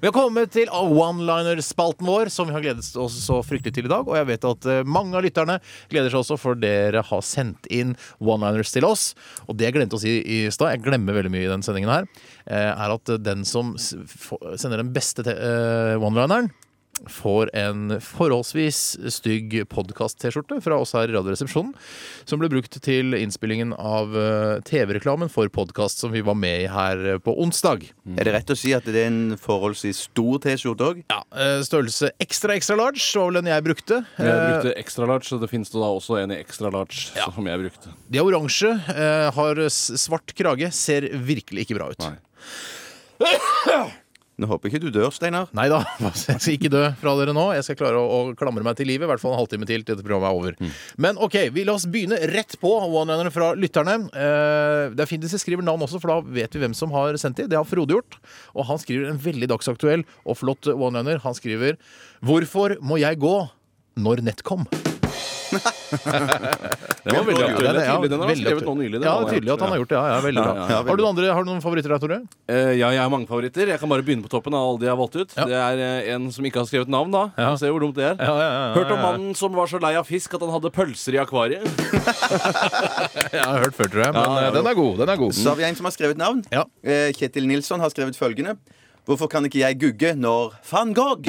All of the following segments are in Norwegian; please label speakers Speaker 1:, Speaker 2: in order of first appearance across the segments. Speaker 1: Vi har kommet til one-liner-spalten vår, som vi har gledet oss så fryktelig til i dag. Og jeg vet at eh, mange av lytterne gleder seg også, for dere har sendt inn one-liners til oss. Og det jeg glemte å si i stad, jeg glemmer veldig mye i den sendingen her, eh, er at den som s- få- sender den beste te- eh, one-lineren, får en forholdsvis stygg podkast-T-skjorte fra oss her i Radioresepsjonen. Som ble brukt til innspillingen av eh, TV-reklamen for podkast som vi var med i her eh, på onsdag.
Speaker 2: Er det rett å si at det er en forholdsvis stor T-skjorte òg?
Speaker 1: Ja, eh, Størrelse ekstra extra large var vel den jeg brukte.
Speaker 3: Jeg
Speaker 1: Eh,
Speaker 3: brukte extra large, så det finnes det da også en i extra large som jeg brukte.
Speaker 1: De er oransje, eh, har s- svart krage, ser virkelig ikke bra ut.
Speaker 3: Nei.
Speaker 2: Nå håper jeg ikke du dør, Steinar.
Speaker 1: Nei da, jeg skal ikke dø fra dere nå. Jeg skal klare å, å klamre meg til livet. I hvert fall en halvtime til til dette programmet er over. Men ok, vi la oss begynne rett på one-linerne fra lytterne. Eh, det er fint hvis jeg skriver navn også, for da vet vi hvem som har sendt de. Det har Frode gjort. Og han skriver en veldig dagsaktuell og flott one-liner. Han skriver 'Hvorfor må jeg gå når nett kom'?
Speaker 3: Den var veldig
Speaker 2: Ja,
Speaker 3: aktuell. Det
Speaker 1: ja,
Speaker 3: er tydelig, den har han
Speaker 1: veldig
Speaker 3: skrevet
Speaker 1: aktuell.
Speaker 3: nå nylig. den
Speaker 1: Ja,
Speaker 3: har
Speaker 1: det er tydelig at han har gjort det. Ja, ja, veldig bra.
Speaker 3: Ja,
Speaker 2: ja, veldig
Speaker 1: har, du noen andre, har du noen favoritter her, Tore?
Speaker 3: Eh, ja, jeg har mange favoritter. Jeg kan bare begynne på toppen av alle de jeg har valgt ut.
Speaker 1: Ja.
Speaker 3: Det er eh, en som ikke har skrevet navn, da.
Speaker 1: Ja.
Speaker 3: Se hvor dumt det er.
Speaker 1: Ja, ja, ja, ja,
Speaker 3: Hørt om
Speaker 1: ja.
Speaker 3: mannen som var så lei av fisk at han hadde pølser i akvariet.
Speaker 1: Jeg har hørt før, tror jeg. Men
Speaker 3: ja,
Speaker 1: eh,
Speaker 3: ja.
Speaker 1: den er god. den er god
Speaker 2: Så har vi en som har skrevet navn.
Speaker 1: Ja.
Speaker 2: Eh, Kjetil Nilsson har skrevet følgende. Hvorfor kan ikke jeg gugge når van Gogh?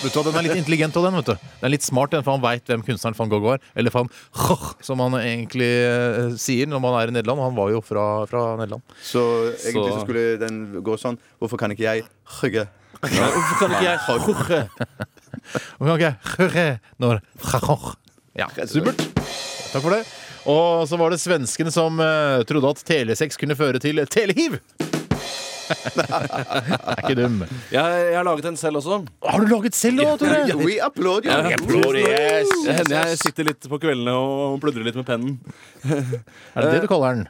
Speaker 1: Vet du hva, Den er litt intelligent, og den. vet du Den er litt smart, den, for han veit hvem kunstneren van Gogh var. Eller van Gogh, som han egentlig eh, sier når man er i Nederland. Og han var jo fra, fra Nederland.
Speaker 2: Så egentlig så skulle den gå sånn. Hvorfor kan ikke jeg rygge?
Speaker 3: Hvorfor kan ikke jeg
Speaker 1: Og kan ikke høre når van Gogh. Ja, supert. Takk for det. Og så var det svenskene som eh, trodde at telesex kunne føre til telehiv. er ikke dum.
Speaker 3: Jeg, jeg har laget en selv også.
Speaker 1: Har du laget selv nå, Tore?
Speaker 2: We applaud you.
Speaker 3: Det hender jeg sitter litt på kveldene og pludrer litt med pennen.
Speaker 1: Er det det du kaller den?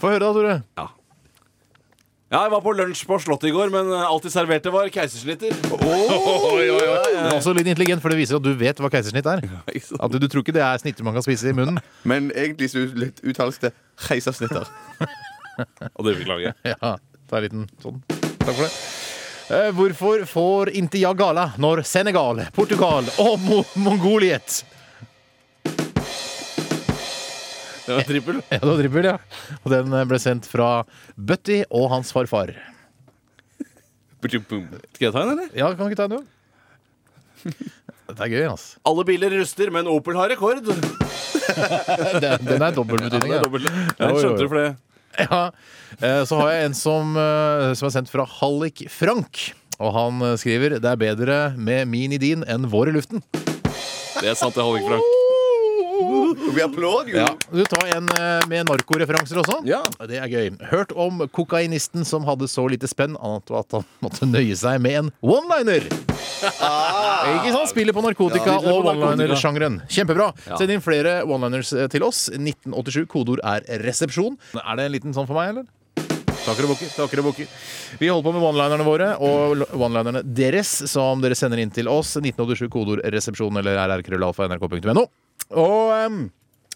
Speaker 1: Få høre da, Tore.
Speaker 3: Ja, Jeg var på lunsj på Slottet i går, men eh, alt de serverte, var keisersnitter.
Speaker 1: Det er også litt intelligent, for det viser at du vet hva keisersnitt er. At du, du tror ikke det er snitter man kan spise i munnen.
Speaker 2: Men egentlig så litt uttales det keisersnitter.
Speaker 3: Og det beklager jeg.
Speaker 1: Ja, ta en liten sånn. Takk for det. Eh, Hvorfor får Intia gala når Senegal, Portugal og Mo Mongoliet
Speaker 3: Det var trippel.
Speaker 1: Ja, det var dribbel, ja. Og den eh, ble sendt fra Bøtti og hans farfar.
Speaker 3: Skal jeg ta en, eller?
Speaker 1: Ja, kan du ikke ta den, jo? Dette er gøy, altså.
Speaker 3: Alle biler ruster, men Opel har rekord.
Speaker 1: Den, den er dobbel
Speaker 3: Det
Speaker 1: betydning.
Speaker 3: er
Speaker 1: Ja.
Speaker 3: dobbelt.
Speaker 1: jo,
Speaker 3: Jeg
Speaker 1: jo.
Speaker 3: skjønte det for det.
Speaker 1: Ja. Eh, Så har jeg en som, eh, som er sendt fra Hallik Frank. Og han eh, skriver det er bedre med min i din enn vår i luften.
Speaker 3: Det er sant, det holder ikke Frank.
Speaker 2: We applaud you.
Speaker 1: Du tar en eh, med narkoreferanser også.
Speaker 3: Ja.
Speaker 1: Det er gøy. Hørt om kokainisten som hadde så lite spenn annet var at han måtte nøye seg med en one-liner. Ikke sant? Spiller på narkotika
Speaker 3: Ja, spiller på
Speaker 1: og
Speaker 3: narkotika.
Speaker 1: one-liner-sjangeren. Kjempebra.
Speaker 3: Ja.
Speaker 1: Send inn flere one-liners eh, til oss. 1987. Kodeord er resepsjon. Er det en liten sånn for meg, eller? Takker og bukker. takker og bukker. Vi holder på med one-linerne våre og l- one-linerne deres, som dere sender inn til oss. 1987 kodeord resepsjon eller rrkrøllalfa.nrk.no. Og ehm,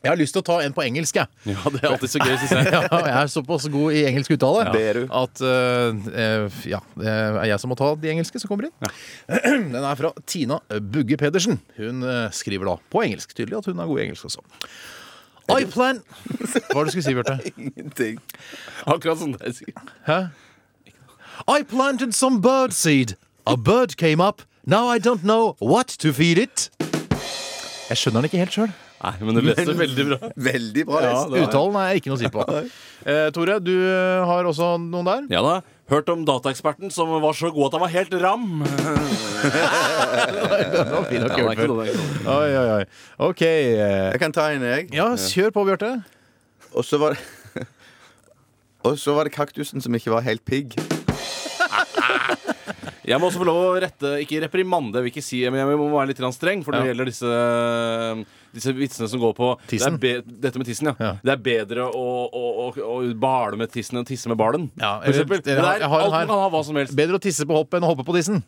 Speaker 1: jeg har lyst til å ta en på engelsk, jeg.
Speaker 3: Ja, det er alltid så gøy, syns jeg.
Speaker 1: Ja, jeg er såpass god i engelsk uttale
Speaker 2: Det er du.
Speaker 1: at eh, eh, ja, det er jeg som må ta de engelske som kommer inn. Den er fra Tina Bugge Pedersen. Hun eh, skriver da på engelsk. Tydelig at hun er god i engelsk også. I plan Hva var det du skulle si, Bjarte?
Speaker 2: Ingenting.
Speaker 3: Akkurat som deg, sikkert.
Speaker 1: Hæ? I planted some bird seed. A bird came up. Now I don't know what to feed it. Jeg skjønner den ikke helt sjøl.
Speaker 3: Nei, men du leste veldig bra.
Speaker 2: Veldig bra
Speaker 3: Ja,
Speaker 2: lest.
Speaker 3: det var-
Speaker 1: Uttalen er ikke noe å si på. Eh, Tore, du har også noen der?
Speaker 3: Ja da. Hørt om dataeksperten som var så god at han var helt ram.
Speaker 1: Den var fin og kul før.
Speaker 3: Hva
Speaker 1: Oi, oi, oi. OK. eh,
Speaker 2: Jeg kan ta en, jeg.
Speaker 1: Ja, kjør på, Bjarte.
Speaker 2: Og så var Og så var det kaktusen som ikke var helt pigg.
Speaker 3: Jeg må også få lov å rette, ikke reprimande, jeg vil ikke si, men jeg må være litt grann streng. For når det
Speaker 1: Ja.
Speaker 3: gjelder disse, disse vitsene som går på
Speaker 1: Tissen.
Speaker 3: Det er be, dette med tissen, ja.
Speaker 1: Ja.
Speaker 3: Det er bedre å, å, å, å bale med tissen enn å tisse med balen.
Speaker 1: Ja,
Speaker 3: for
Speaker 1: eller-
Speaker 3: eksempel. Det
Speaker 1: jeg
Speaker 3: er,
Speaker 1: har- jeg har en
Speaker 3: alt
Speaker 1: her.
Speaker 3: man kan ha hva som helst.
Speaker 1: Bedre å tisse på hoppet enn å hoppe på tissen.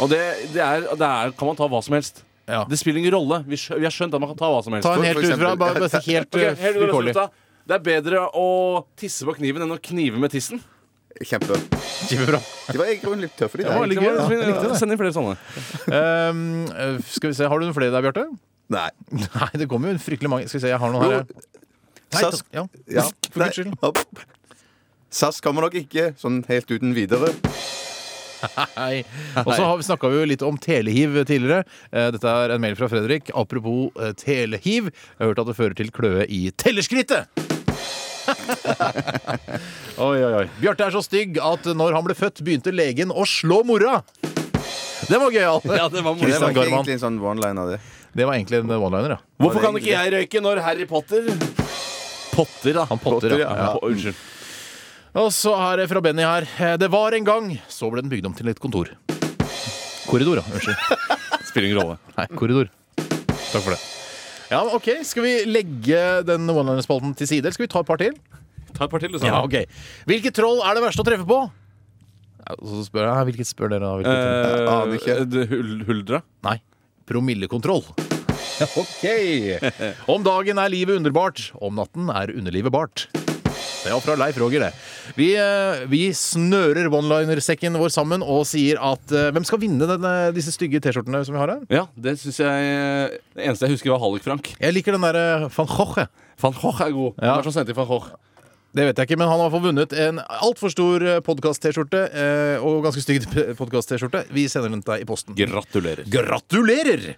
Speaker 3: Og det, det, er, det er, kan man ta hva som helst.
Speaker 1: Ja.
Speaker 3: Det spiller ingen rolle. Vi, skjø, vi har skjønt at man kan ta hva som helst.
Speaker 1: Ta en
Speaker 2: For-
Speaker 1: helt
Speaker 2: for
Speaker 1: ut fra.
Speaker 2: eksempel-
Speaker 1: Bare, bare helt
Speaker 3: Ok,
Speaker 1: eh,
Speaker 3: helt ut av
Speaker 1: vilkårlig.
Speaker 3: lufta. Det er bedre å tisse på kniven enn å knive med tissen.
Speaker 2: Kjempe.
Speaker 1: Kjempebra.
Speaker 2: De var i grunnen litt tøffe, de
Speaker 1: var
Speaker 2: der.
Speaker 1: litt- gøy, da. Jeg likte det.
Speaker 3: Send inn flere sånne.
Speaker 1: Um, eh, skal vi se, Har du noen flere der, Bjarte?
Speaker 2: Nei.
Speaker 1: Nei, det kommer jo fryktelig mange. Skal vi se, jeg har noen her.
Speaker 2: Jo,
Speaker 1: Nei,
Speaker 2: SAS-
Speaker 1: ja.
Speaker 2: Ja.
Speaker 1: For guds skyld.
Speaker 2: Hopp. SAS kommer nok ikke sånn helt uten videre.
Speaker 1: Nei. Og så har vi- snakka vi jo litt om telehiv tidligere. Eh, Dette er en mail fra Fredrik. Apropos eh, telehiv. Jeg har hørt at det fører til kløe i tellerskrittet! oi, oi, oi. Bjarte er så stygg at når han ble født, begynte legen å slå mora! Det var gøyalt!
Speaker 3: Ja, det var moro.
Speaker 2: Det var
Speaker 1: Christian
Speaker 2: ikke
Speaker 1: Garman.
Speaker 2: egentlig en sånn one-liner, det.
Speaker 1: Det var egentlig en one-liner, ja.
Speaker 3: Hvorfor kan ikke jeg røyke når Harry Potter Potter, da.
Speaker 1: Han potter,
Speaker 2: Potter,
Speaker 1: ja.
Speaker 2: ja.
Speaker 1: ja.
Speaker 3: Po- Unnskyld.
Speaker 1: Og så er det fra Benny her. Eh, Det var en gang, så ble den bygd om til et kontor. Korridor, ja. Unnskyld.
Speaker 3: Spiller ingen rolle.
Speaker 1: Nei, korridor. Takk for det. Ja, men ok, Skal vi legge den one-liner-spalten til side, eller skal vi ta et par til?
Speaker 3: Ta et par til, du,
Speaker 1: Ja, ok Hvilket troll er det verste å treffe på? Ja, og Så spør jeg, Hvilket spør dere da?
Speaker 3: Eh,
Speaker 1: Hvilket troll?
Speaker 2: aner ikke.
Speaker 3: Huldra?
Speaker 1: Nei. Promillekontroll. OK! Om dagen er livet underbart, om natten er underlivet bart. Det er fra Leif Roger, det. Vi, eh, vi snører one-liner-sekken vår sammen og sier at eh, hvem skal vinne denne, disse stygge T-skjortene som vi har her?
Speaker 3: Ja, det syns jeg eh, Det eneste jeg husker, var Hallik-Frank.
Speaker 1: Jeg liker den derre van Gogh. jeg.
Speaker 3: Van Hoch er god.
Speaker 1: Ja.
Speaker 3: Hva er det som sendte inn Van Hoch?
Speaker 1: Det vet jeg ikke, men han har fått vunnet en altfor stor eh, podkast-T-skjorte. eh, Og ganske stygg podkast-T-skjorte. Vi sender den til deg i posten.
Speaker 3: Gratulerer.
Speaker 1: Gratulerer!